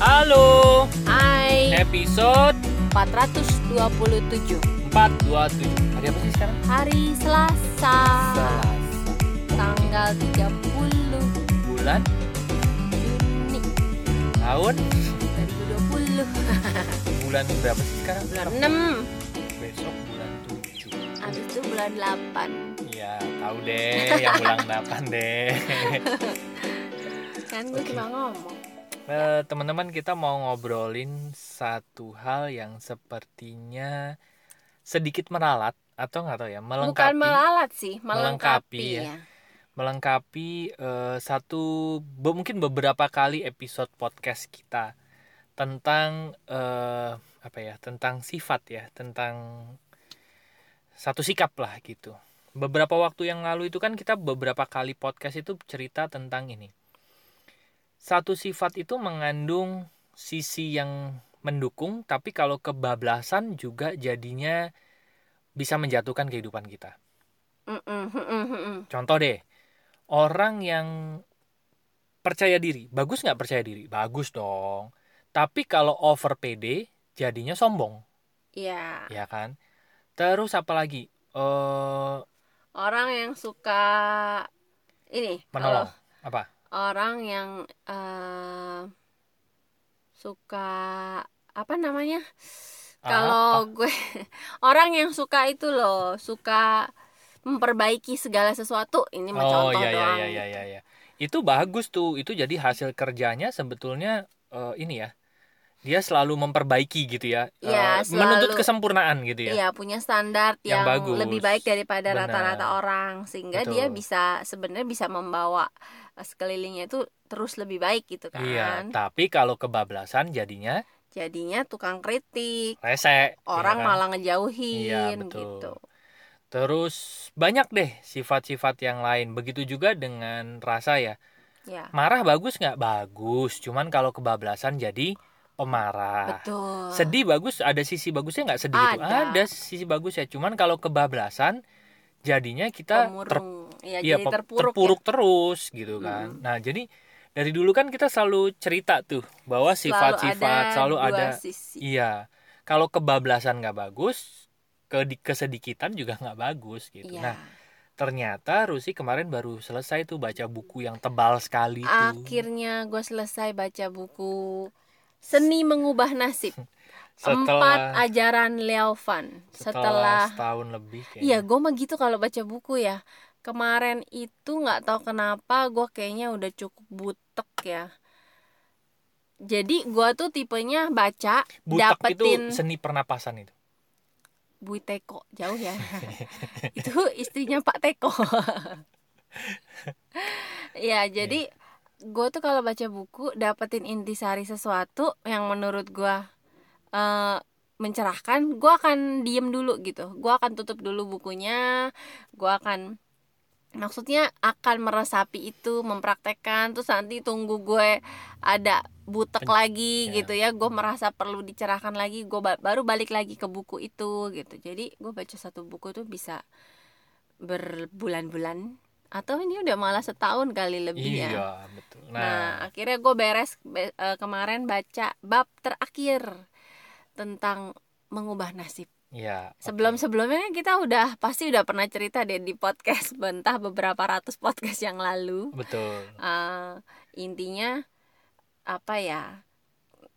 Halo, Hai episode 427 427. Hari apa sih sekarang? Hari Selasa Selasa. Tanggal 30 Bulan, Juni tahun, 2020 bulan berapa sih sekarang? Bulan 6 Besok bulan 7. Habis itu bulan 8 Iya, tahu deh yang bulan 8 deh. Kan gue cuma ngomong Eh, Teman-teman kita mau ngobrolin satu hal yang sepertinya sedikit meralat atau nggak tahu ya Bukan melengkapi melalat sih Melengkapi Melengkapi, ya. ya. melengkapi eh, satu be- mungkin beberapa kali episode podcast kita tentang eh, apa ya tentang sifat ya tentang satu sikap lah gitu beberapa waktu yang lalu itu kan kita beberapa kali podcast itu cerita tentang ini satu sifat itu mengandung sisi yang mendukung tapi kalau kebablasan juga jadinya bisa menjatuhkan kehidupan kita Mm-mm, mm-mm, mm-mm. Contoh deh, orang yang percaya diri, bagus nggak percaya diri? Bagus dong. Tapi kalau over PD, jadinya sombong, Iya ya kan? Terus apalagi? eh Orang yang suka Ini menolong. Apa? orang yang eh, suka apa namanya Ah, kalau gue orang yang suka itu loh suka memperbaiki segala sesuatu ini mah Oh contoh iya iya doang iya iya iya, iya. Itu bagus tuh. Itu jadi hasil kerjanya sebetulnya eh, ini ya. Dia selalu memperbaiki gitu ya. Eh, Iya, selalu. menuntut kesempurnaan gitu ya. Iya, punya standar Yang yang, bagus. lebih baik daripada Benar. rata-rata orang sehingga Betul. dia bisa sebenarnya bisa membawa eh, sekelilingnya itu terus lebih baik gitu kan Iya, tapi kalau kebablasan jadinya jadinya tukang kritik rese. ya orang kan? malah Iya, ngejauhin betul. gitu Terus banyak deh sifat-sifat yang lain. Begitu juga dengan rasa ya. ya Marah bagus nggak? Bagus. Cuman kalau kebablasan jadi pemarah. betul Sedih bagus. Ada sisi bagusnya nggak sedih itu? Ada. Ada sisi bagus ya. Cuman kalau kebablasan jadinya kita ter- pemurung ya, iya, jadi pe- terpuruk, ya. terus gitu kan. Nah jadi dari dulu kan kita selalu cerita tuh bahwa sifat-sifat selalu dua ada. sisi Iya. Kalau kebablasan nggak bagus, ke kesedikitan juga nggak bagus gitu. Iya. Nah Ternyata Rusi kemarin baru selesai tuh baca buku yang tebal sekali tuh. akhirnya gue selesai baca buku seni mengubah nasib empat setelah ajaran Leo Van setelah setelah setahun lebih iya kayaknya. gue mah gitu kalau baca buku ya kemarin itu nggak tahu kenapa gue kayaknya udah cukup butek ya jadi gue tuh tipenya baca Butek itu dapetin seni pernapasan itu. Bui Teko jauh ya itu istrinya Pak Teko ya jadi gue tuh kalau baca buku dapetin intisari sesuatu yang menurut gue eh, mencerahkan gue akan diem dulu gitu gue akan tutup dulu bukunya gue akan maksudnya akan meresapi itu mempraktekkan terus nanti tunggu gue ada butek Pen- lagi ya. gitu ya gue merasa perlu dicerahkan lagi gue ba- baru balik lagi ke buku itu gitu jadi gue baca satu buku tuh bisa berbulan-bulan atau ini udah malah setahun kali lebih ya Iya, betul. Nah, Nah, akhirnya gue beres be- eh, kemarin baca bab terakhir tentang mengubah nasib. ya. oke. Sebelum-sebelumnya kan kita udah pasti udah pernah cerita deh di podcast bentah beberapa ratus podcast yang lalu. betul. Eh, intinya apa ya?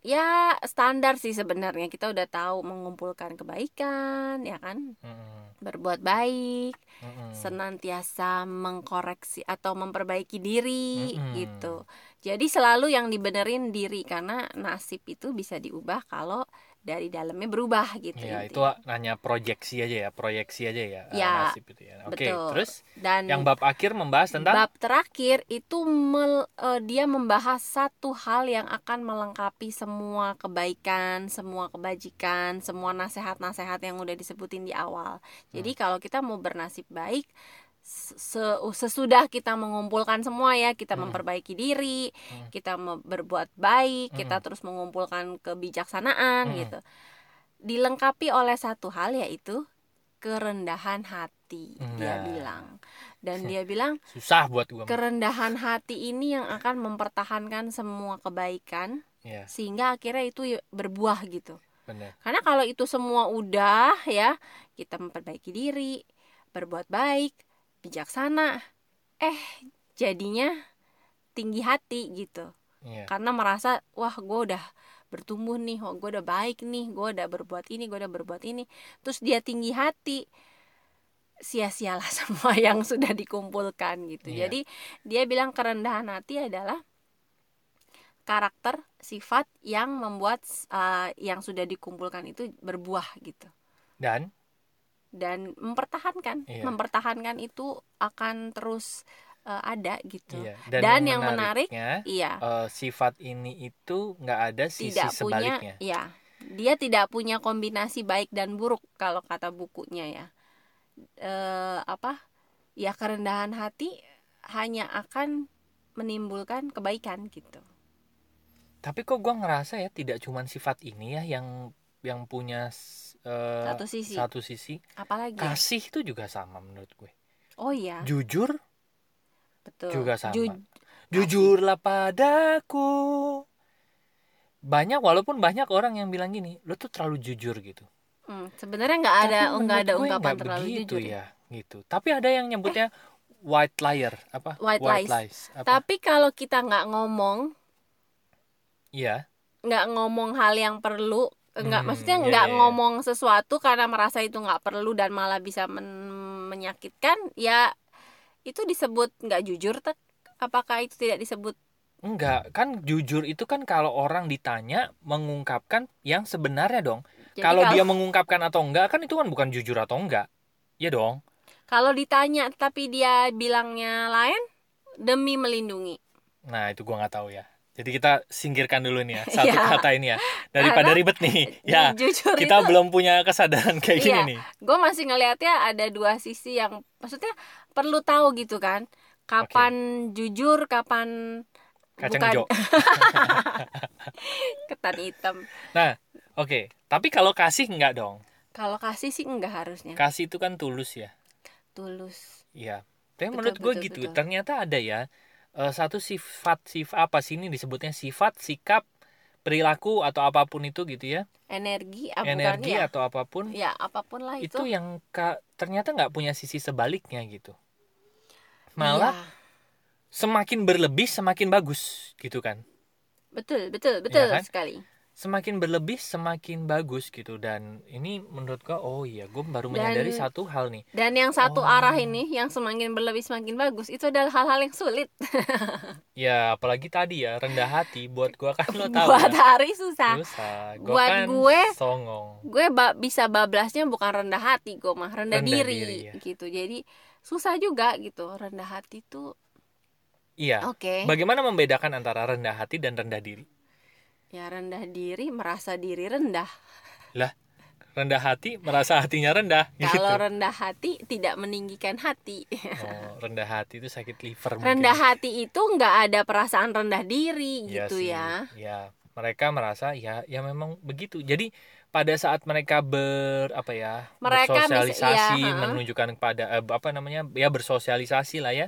Ya standar sih sebenarnya kita udah tahu mengumpulkan kebaikan, ya kan? Mm-mm, Berbuat baik, mm-mm. senantiasa mengkoreksi atau memperbaiki diri Mm-mm. gitu. Jadi selalu yang dibenerin diri karena nasib itu bisa diubah kalau dari dalamnya berubah gitu. Ya, itu intinya. hanya proyeksi aja ya, proyeksi aja ya, Ya, eh, nasib itu ya. Oke, betul. terus Dan yang bab akhir membahas tentang bab terakhir itu mel- eh, dia membahas satu hal yang akan melengkapi semua kebaikan, semua kebajikan, semua nasihat-nasihat yang udah disebutin di awal. Jadi Hmm. kalau kita mau bernasib baik se- sesudah kita mengumpulkan semua ya, kita Hmm. memperbaiki diri, Hmm. kita me- berbuat baik, Hmm. kita terus mengumpulkan kebijaksanaan Hmm. gitu. Dilengkapi oleh satu hal yaitu kerendahan hati Nah. dia bilang. Dan dia bilang susah buat gua. kerendahan hati ini yang akan mempertahankan semua kebaikan Iya, sehingga akhirnya itu ya berbuah gitu benar. karena kalau itu semua udah ya, kita memperbaiki diri, berbuat baik, bijaksana. Eh, jadinya tinggi hati gitu. Iya. Karena merasa wah gue udah bertumbuh nih, wah gue udah baik nih, gue udah berbuat ini, gue udah berbuat ini. Terus dia tinggi hati. Sia-sialah semua yang sudah dikumpulkan gitu. Iya. Jadi dia bilang kerendahan hati adalah karakter sifat yang membuat eh, yang sudah dikumpulkan itu berbuah gitu Dan dan mempertahankan Iya. mempertahankan itu akan terus eh, ada gitu iya, Dan yang menarik, menariknya, iya eh, sifat ini itu nggak ada sisi tidak punya sebaliknya. ya dia tidak punya kombinasi baik dan buruk kalau kata bukunya ya eh apa ya kerendahan hati hanya akan menimbulkan kebaikan gitu Tapi kok gua ngerasa ya tidak cuman sifat ini ya yang yang punya s- eh, satu sisi satu sisi. apalagi ya? Kasih itu juga sama menurut gue. oh iya Jujur betul juga sama. Ju- Jujurlah padaku. Banyak walaupun banyak orang yang bilang gini, lo tuh terlalu jujur gitu. hmm, sebenarnya nggak ada Tapi oh, nggak ada menurut gue ungkapan nggak terlalu begitu jujur ya. Eh. ya, gitu. Tapi ada yang nyebutnya white liar apa? White lies. apa? tapi kalau kita nggak ngomong Iya, nggak ngomong hal yang perlu nggak Hmm, maksudnya iya, nggak iya, iya. ngomong sesuatu karena merasa itu nggak perlu dan malah bisa men- menyakitkan ya itu disebut nggak jujur Tek? apakah itu tidak disebut enggak kan jujur itu kan kalau orang ditanya mengungkapkan yang sebenarnya dong. Jadi kalau dia mengungkapkan atau enggak kan itu kan bukan jujur atau enggak. Ya dong. kalau ditanya tapi dia bilangnya lain demi melindungi Nah, itu gua nggak tahu ya. Jadi kita singkirkan dulu nih ya satu Iya. kata ini ya. Daripada Karena- ribet nih. Ya, jujur kita itu belum punya kesadaran kayak Iya. gini nih. gue masih ngelihatnya ada dua sisi yang maksudnya perlu tahu gitu kan kapan jujur kapan Kacang bukan hijau. ketan hitam Oke, tapi kalau kasih enggak dong. kalau kasih sih enggak harusnya Kasih itu kan tulus ya. tulus Iya. Tapi Betul, menurut gue betul, gitu. betul. Ternyata ada ya eh, satu sifat sif apa sih ini disebutnya sifat, sikap, perilaku atau apapun itu gitu ya. energi ah, bukan, Energi ya atau apapun ya apapun lah itu itu, yang ka- ternyata nggak punya sisi sebaliknya gitu. Malah Iya. semakin berlebih semakin bagus gitu kan. betul betul betul Iya kan? sekali Semakin berlebih semakin bagus gitu dan ini menurut gue oh iya gue baru Dan- menyadari satu hal nih. dan yang satu Oh. arah ini yang semakin berlebih semakin bagus itu adalah hal-hal yang sulit Ya apalagi tadi ya rendah hati buat gue kan lo tahu buat ya. hari susah Susah. Gua Buat kan gue, songong. gue ba- bisa bablasnya bukan rendah hati gue mah rendah, Rendah diri, diri, ya. gitu jadi susah juga gitu rendah hati tuh Iya. oke Bagaimana membedakan antara rendah hati dan rendah diri? ya rendah diri merasa diri rendah Rendah hati merasa hatinya rendah gitu. kalau rendah hati tidak meninggikan hati Oh, rendah hati itu sakit liver mungkin. rendah hati itu nggak ada perasaan rendah diri Iya gitu sih. ya Ya, mereka merasa ya ya memang begitu. Jadi pada saat mereka ber apa ya? Mereka bisa- bersosialisasi iya, heeh. menunjukkan kepada eh, apa namanya? ya bersosialisasi lah ya.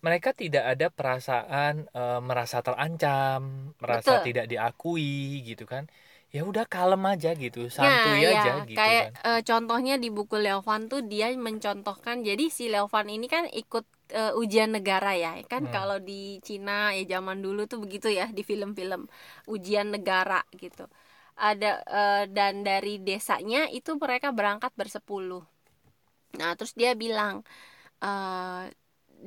Mereka tidak ada perasaan eh, merasa terancam, merasa Betul. tidak diakui gitu kan. Ya udah kalem aja gitu, santuy Nah, aja ya, gitu kayak kan. eh, contohnya di buku Leovan tuh dia mencontohkan jadi si Leovan ini kan ikut eh, ujian negara ya kan Hmm. kalau di Cina ya zaman dulu tuh begitu ya di film-film ujian negara gitu ada eh, dan dari desanya itu mereka berangkat bersepuluh nah terus dia bilang eh,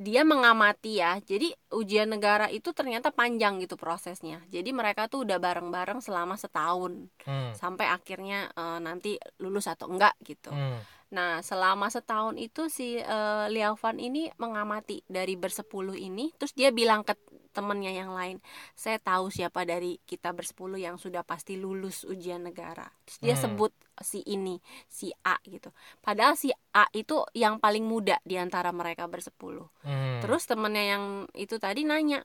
dia mengamati ya jadi ujian negara itu ternyata panjang gitu prosesnya jadi mereka tuh udah bareng-bareng selama setahun Hmm. sampai akhirnya eh, nanti lulus atau enggak gitu. Hmm. Nah, selama setahun itu si eh, Liao Fan ini mengamati dari bersepuluh ini, terus dia bilang ke temennya yang lain, saya tahu siapa dari kita bersepuluh yang sudah pasti lulus ujian negara. Terus dia Hmm. sebut si ini, si A gitu. Padahal si A itu yang paling muda di antara mereka bersepuluh. Hmm. Terus temennya yang itu tadi nanya,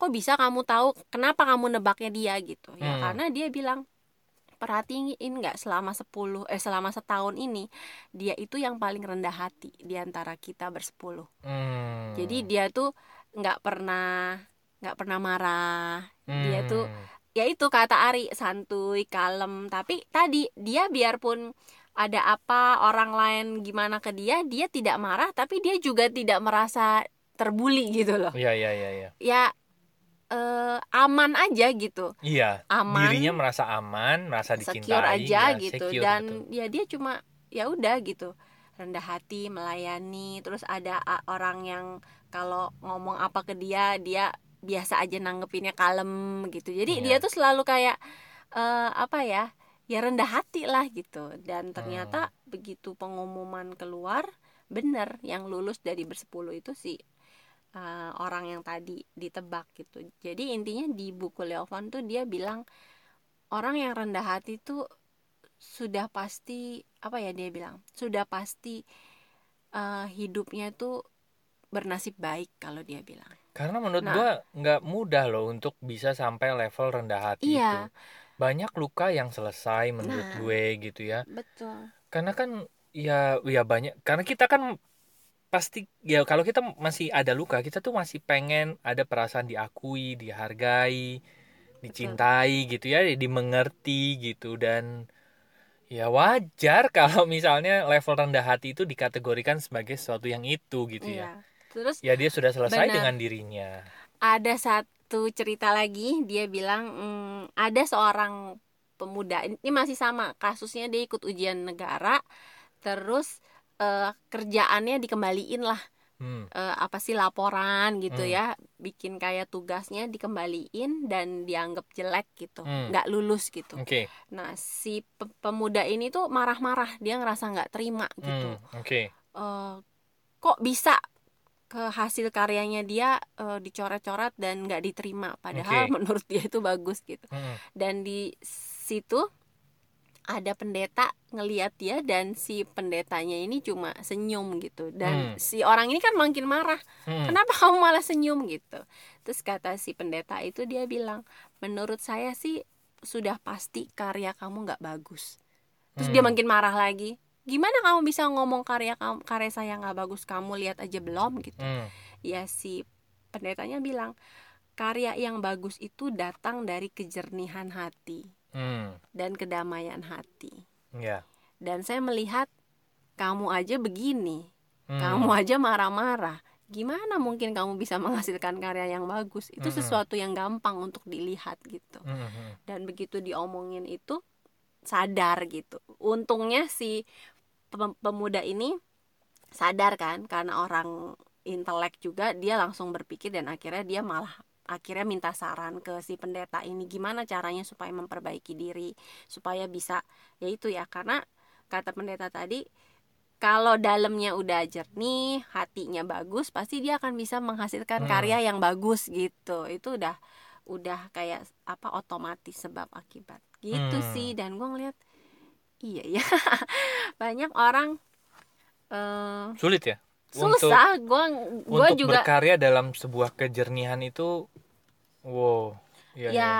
kok bisa kamu tahu kenapa kamu nebaknya dia gitu? Ya Hmm. karena dia bilang perhatiin nggak selama 10 eh selama setahun ini dia itu yang paling rendah hati di antara kita bersepuluh. Hmm. hmm. Jadi dia tuh nggak pernah nggak pernah marah. dia tuh, ya itu kata Ari santuy kalem tapi tadi dia biarpun ada apa orang lain gimana ke dia dia tidak marah tapi dia juga tidak merasa terbuli gitu loh Iya, iya, iya, iya. ya eh, aman aja gitu Iya, aman dirinya merasa aman, merasa dicintai, secure aja ya, gitu secure dan gitu. ya dia cuma ya udah gitu rendah hati melayani terus ada a- orang yang kalau ngomong apa ke dia dia biasa aja nanggepinnya kalem gitu jadi Iya. dia tuh selalu kayak eh, apa ya ya rendah hati lah gitu dan Ah. ternyata begitu pengumuman keluar bener yang lulus dari bersepuluh itu si eh, orang yang tadi ditebak gitu jadi intinya di buku Leovan tuh dia bilang orang yang rendah hati tuh sudah pasti apa ya dia bilang sudah pasti eh, hidupnya tuh bernasib baik kalau dia bilang Karena menurut Nah. gua nggak mudah loh untuk bisa sampai level rendah hati itu. Iya. Banyak luka yang selesai menurut Nah. gue gitu ya. betul Karena kan ya ya banyak karena kita kan pasti ya kalau kita masih ada luka, kita tuh masih pengen ada perasaan diakui, dihargai, dicintai gitu ya, dimengerti gitu dan ya wajar kalau misalnya level rendah hati itu dikategorikan sebagai sesuatu yang itu gitu ya. iya terus Ya dia sudah selesai Benar. dengan dirinya. ada satu cerita lagi dia bilang mm, ada seorang pemuda ini masih sama kasusnya dia ikut ujian negara terus eh, kerjaannya dikembaliin lah Hmm. eh, apa sih laporan Hmm. gitu ya bikin kayak tugasnya dikembaliin dan dianggap jelek gitu Hmm. nggak lulus gitu Oke. nah si pe- pemuda ini tuh marah-marah dia ngerasa nggak terima gitu Hmm. Oke. Eh, kok bisa ke hasil karyanya dia eh, dicoret-coret dan nggak diterima padahal Oke. menurut dia itu bagus gitu Hmm. dan di situ ada pendeta ngeliat dia dan si pendetanya ini cuma senyum gitu Hmm. dan si orang ini kan makin marah Hmm. kenapa kamu malah senyum gitu terus kata si pendeta itu dia bilang menurut saya sih sudah pasti karya kamu nggak bagus terus dia Hmm. makin marah lagi gimana kamu bisa ngomong karya kamu karya saya nggak bagus kamu lihat aja belum gitu Hmm. ya si pendetanya bilang karya yang bagus itu datang dari kejernihan hati Hmm. dan kedamaian hati Ya. dan saya melihat kamu aja begini Hmm. kamu aja marah-marah gimana mungkin kamu bisa menghasilkan karya yang bagus itu Mm-mm. sesuatu yang gampang untuk dilihat gitu Hmm. Hmm. dan begitu diomongin itu sadar gitu untungnya si pem- pemuda ini sadar kan karena orang intelek juga dia langsung berpikir dan akhirnya dia malah akhirnya minta saran ke si pendeta ini gimana caranya supaya memperbaiki diri supaya bisa yaitu ya karena kata pendeta tadi kalau dalamnya udah jernih, hatinya bagus, pasti dia akan bisa menghasilkan Hmm. karya yang bagus gitu. Itu udah udah kayak apa otomatis sebab akibat. Gitu Hmm. sih dan gue ngeliat iya ya. Banyak orang eh Sulit ya. Untuk susah gue gue untuk juga berkarya dalam sebuah kejernihan itu, wow. Ya. ya. ya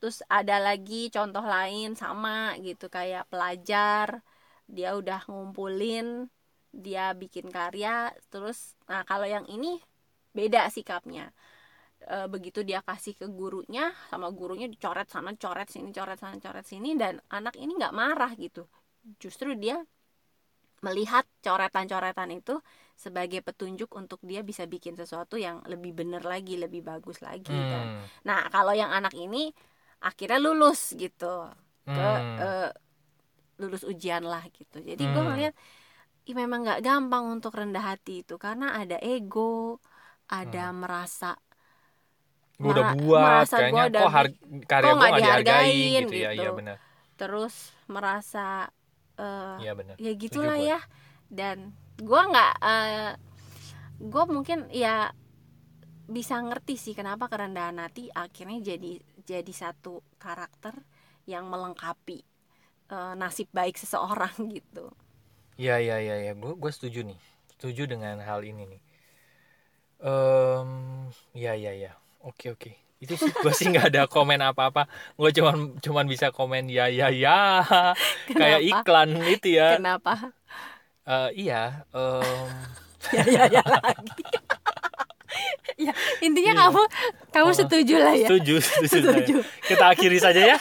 terus ada lagi contoh lain sama gitu kayak pelajar dia udah ngumpulin dia bikin karya terus nah kalau yang ini beda sikapnya E, begitu dia kasih ke gurunya sama gurunya dicoret sana coret sini coret sana coret sini dan anak ini nggak marah gitu justru dia melihat coretan-coretan itu sebagai petunjuk untuk dia bisa bikin sesuatu yang lebih bener lagi lebih bagus lagi Hmm. dan Nah, kalau yang anak ini akhirnya lulus gitu ke Hmm. eh, lulus ujian lah gitu. Jadi gue Hmm. ngeliat, ih memang nggak gampang untuk rendah hati itu karena ada ego, ada Hmm. merasa Gua udah mara- buat, merasa kayaknya gua udah kok har- karya kok gua nggak nggak dihargain dihargain gitu, ya. gitu. Iya benar. terus merasa eh, Iya benar. ya gitulah gue. ya. Dan gue nggak, eh, gue mungkin ya bisa ngerti sih kenapa kerendahan hati akhirnya jadi jadi satu karakter yang melengkapi eh, nasib baik seseorang gitu. Ya ya ya ya, gue gue setuju nih, setuju dengan hal ini nih. Em, ya ya ya, oke oke. Itu sih gue sih nggak ada komen apa-apa. Gue cuman cuman bisa komen ya ya ya, kayak Kenapa? iklan itu ya. Kenapa? Eh, iya, em, Ya ya ya lagi. ya intinya Iya. kamu Kamu Oh. setuju lah ya? Setuju, setuju. Setuju. saya. Kita akhiri saja ya.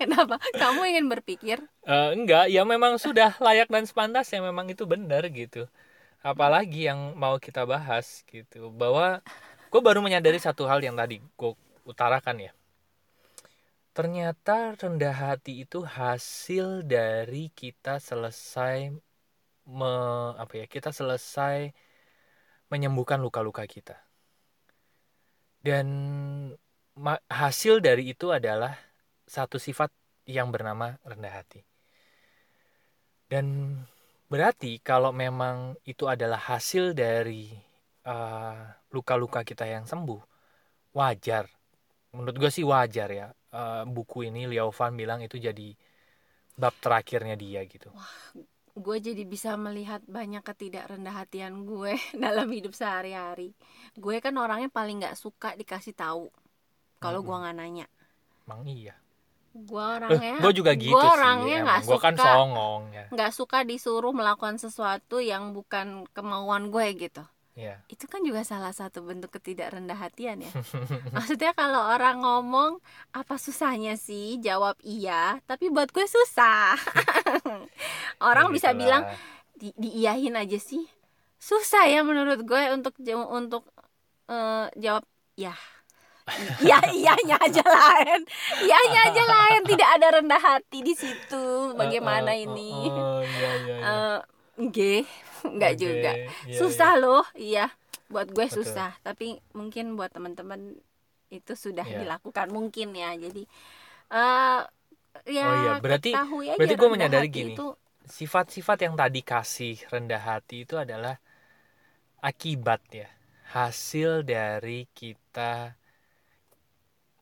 Kenapa? Kamu ingin berpikir Eh, enggak, ya memang sudah layak dan sepantasnya memang itu benar gitu. Apalagi yang mau kita bahas gitu. Bahwa gue baru menyadari satu hal yang tadi gue utarakan ya. Ternyata rendah hati itu hasil dari kita selesai me, apa ya? Kita selesai menyembuhkan luka-luka kita. Dan ma- hasil dari itu adalah satu sifat yang bernama rendah hati. Dan berarti kalau memang itu adalah hasil dari eh, luka-luka kita yang sembuh, wajar. Menurut gue sih wajar ya. Eh, buku ini Liao Fan bilang itu jadi bab terakhirnya dia gitu. gue jadi bisa melihat banyak ketidakrendahan gue dalam hidup sehari-hari. Gue kan orangnya paling nggak suka dikasih tahu kalau Mm-mm. gue nggak nanya. Emang iya. Gue orangnya gue juga gitu gue sih. orangnya emang. nggak Gua kan suka. songong ya. nggak suka disuruh melakukan sesuatu yang bukan kemauan gue gitu. Iya. Itu kan juga salah satu bentuk ketidakrendah hatian ya. Maksudnya kalau orang ngomong apa susahnya sih jawab iya, tapi buat gue susah. orang Ya bisa gitulah. bilang di, diiyahin aja sih susah ya menurut gue untuk jaw- untuk eh, jawab ya ya iyanya aja lain iyanya aja lain tidak ada rendah hati di situ bagaimana Eh, eh, ini eh, eh, iya, iya, iya. Eh, nggih, nggak Oke, juga iya, susah loh iya buat gue Betul. susah tapi mungkin buat teman-teman itu sudah Iya. dilakukan mungkin ya jadi eh ya Oh iya, berarti- ketahui aja berarti gue rendah menyadari hati gini. itu sifat-sifat yang tadi kasih rendah hati itu adalah akibat ya hasil dari kita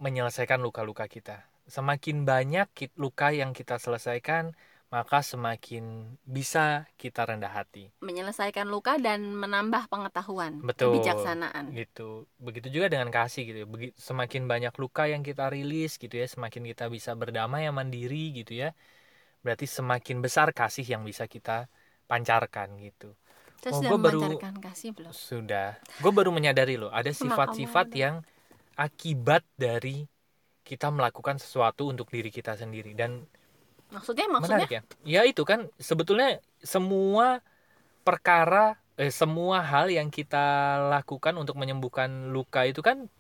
menyelesaikan luka-luka kita semakin banyak ki- luka yang kita selesaikan maka semakin bisa kita rendah hati menyelesaikan luka dan menambah pengetahuan Betul. kebijaksanaan gitu begitu juga dengan kasih gitu ya Begi- semakin banyak luka yang kita rilis gitu ya semakin kita bisa berdamai yang mandiri gitu ya berarti semakin besar kasih yang bisa kita pancarkan gitu terus Oh, sudah gua baru- memancarkan kasih belum Sudah. Gue baru menyadari loh, ada Sama sifat-sifat kamu ada. yang akibat dari kita melakukan sesuatu untuk diri kita sendiri dan maksudnya maksudnya menarik ya. Ya itu kan sebetulnya semua perkara eh, semua hal yang kita lakukan untuk menyembuhkan luka itu kan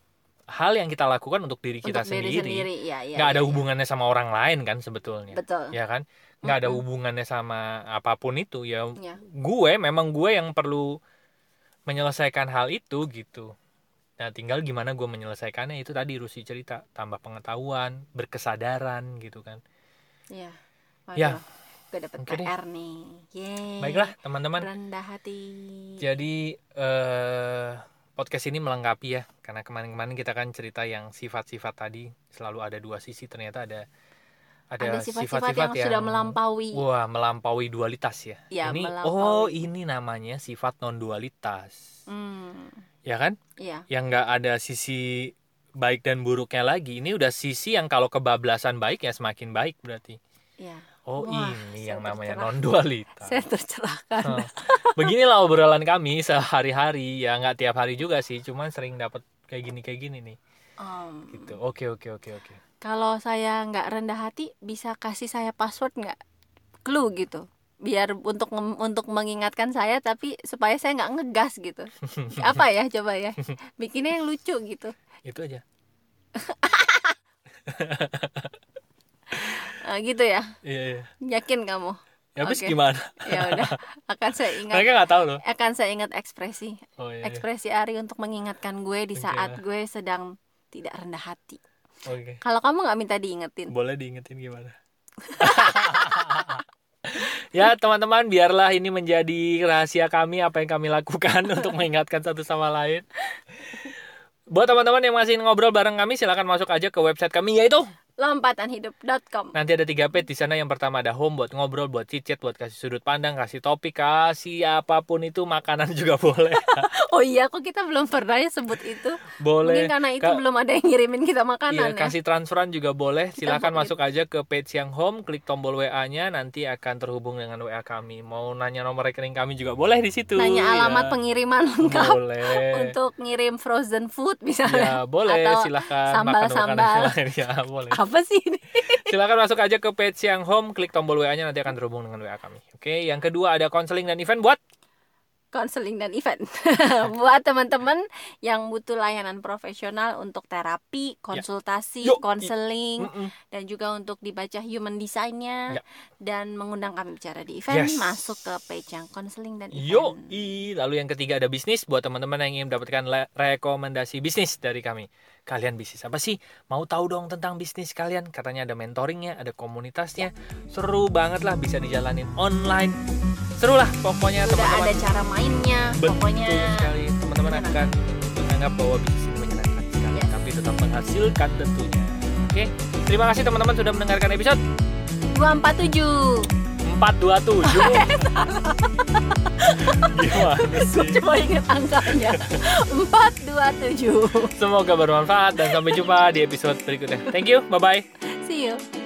hal yang kita lakukan untuk diri kita untuk diri sendiri. sendiri ya ya nggak ya, ada ya. hubungannya sama orang lain kan sebetulnya. betul Ya kan? nggak ada Mm-mm. hubungannya sama apapun itu ya Ya. gue memang gue yang perlu menyelesaikan hal itu gitu nah tinggal gimana gue menyelesaikannya itu tadi Rusi cerita tambah pengetahuan berkesadaran gitu kan ya Ya. gue dapet Oke deh. PR nih Yeay. baiklah Ya, teman-teman rendah hati jadi eh, podcast ini melengkapi ya karena kemarin-kemarin kita kan cerita yang sifat-sifat tadi selalu ada dua sisi ternyata ada ada ada sifat-sifat yang, sudah melampaui wah melampaui dualitas ya, Ya, ini melampaui. oh ini namanya sifat non dualitas hmm ya kan ya yang nggak ada sisi baik dan buruknya lagi ini udah sisi yang kalau kebablasan baik ya semakin baik berarti ya oh Wah, ini saya yang namanya tercerah. non dualitas saya tercerahkan beginilah obrolan kami sehari-hari ya nggak tiap hari juga sih cuman sering dapat kayak gini kayak gini nih Om, gitu oke oke oke oke kalau saya nggak rendah hati bisa kasih saya password nggak clue gitu biar untuk mem- untuk mengingatkan saya tapi supaya saya nggak ngegas gitu apa ya coba ya bikinnya yang lucu gitu itu aja Eh, gitu ya iya iya yakin kamu ya habis Oke. gimana ya udah akan saya ingat mereka nggak tahu loh akan saya ingat ekspresi oh iya, iya. ekspresi Ari untuk mengingatkan gue di Oke saat lah. gue sedang tidak rendah hati oke kalau kamu nggak minta diingetin boleh diingetin gimana ya teman-teman biarlah ini menjadi rahasia kami apa yang kami lakukan untuk mengingatkan satu sama lain buat teman-teman yang masih ngobrol bareng kami silahkan masuk aja ke website kami yaitu lompatanhidup.com Nanti ada 3 page di sana. Yang pertama ada home buat ngobrol, buat cicit, buat kasih sudut pandang, kasih topik, kasih apapun itu makanan juga boleh. oh iya kok kita belum pernah ya sebut itu boleh. mungkin karena itu Ka- belum ada yang ngirimin kita Iya, makanan ya kasih transferan juga boleh. Silakan boleh. masuk aja ke page yang home, klik tombol WA-nya, nanti akan terhubung dengan WA kami. Mau nanya nomor rekening kami juga boleh di situ. nanya ya. alamat pengiriman lengkap Boleh. untuk ngirim frozen food Ya, misalnya boleh. Atau silakan sambal-sambal. makanan-makanan yang lain. Ya, boleh. apa sih ini Silakan masuk aja ke page yang home, klik tombol WA-nya nanti akan terhubung dengan WA kami. Oke, yang kedua ada konseling dan event buat konseling dan event buat teman-teman yang butuh layanan profesional untuk terapi Iya. konsultasi Yo, i- konseling Mm-mm. dan juga untuk dibaca human Ya. design-nya dan mengundang kami bicara di event Yes. Iya, masuk ke page yang konseling dan Yo, event i. lalu yang ketiga ada bisnis buat teman-teman yang ingin mendapatkan le- rekomendasi bisnis dari kami. Kalian bisnis apa sih? Mau tahu dong tentang bisnis kalian? Katanya ada mentoringnya, ada komunitasnya. Seru banget lah bisa dijalanin online. Seru lah pokoknya udah ada teman-teman. cara mainnya Betul pokoknya sekali. Teman-teman akan menganggap bahwa bisnis ini menyenangkan sekali, Yes. tapi tetap menghasilkan tentunya. Oke, terima kasih teman-teman sudah mendengarkan episode 427. 247 Gimana gue sih? cuma inget angkanya 427 Semoga bermanfaat dan sampai jumpa di episode berikutnya. Thank you, bye bye. see you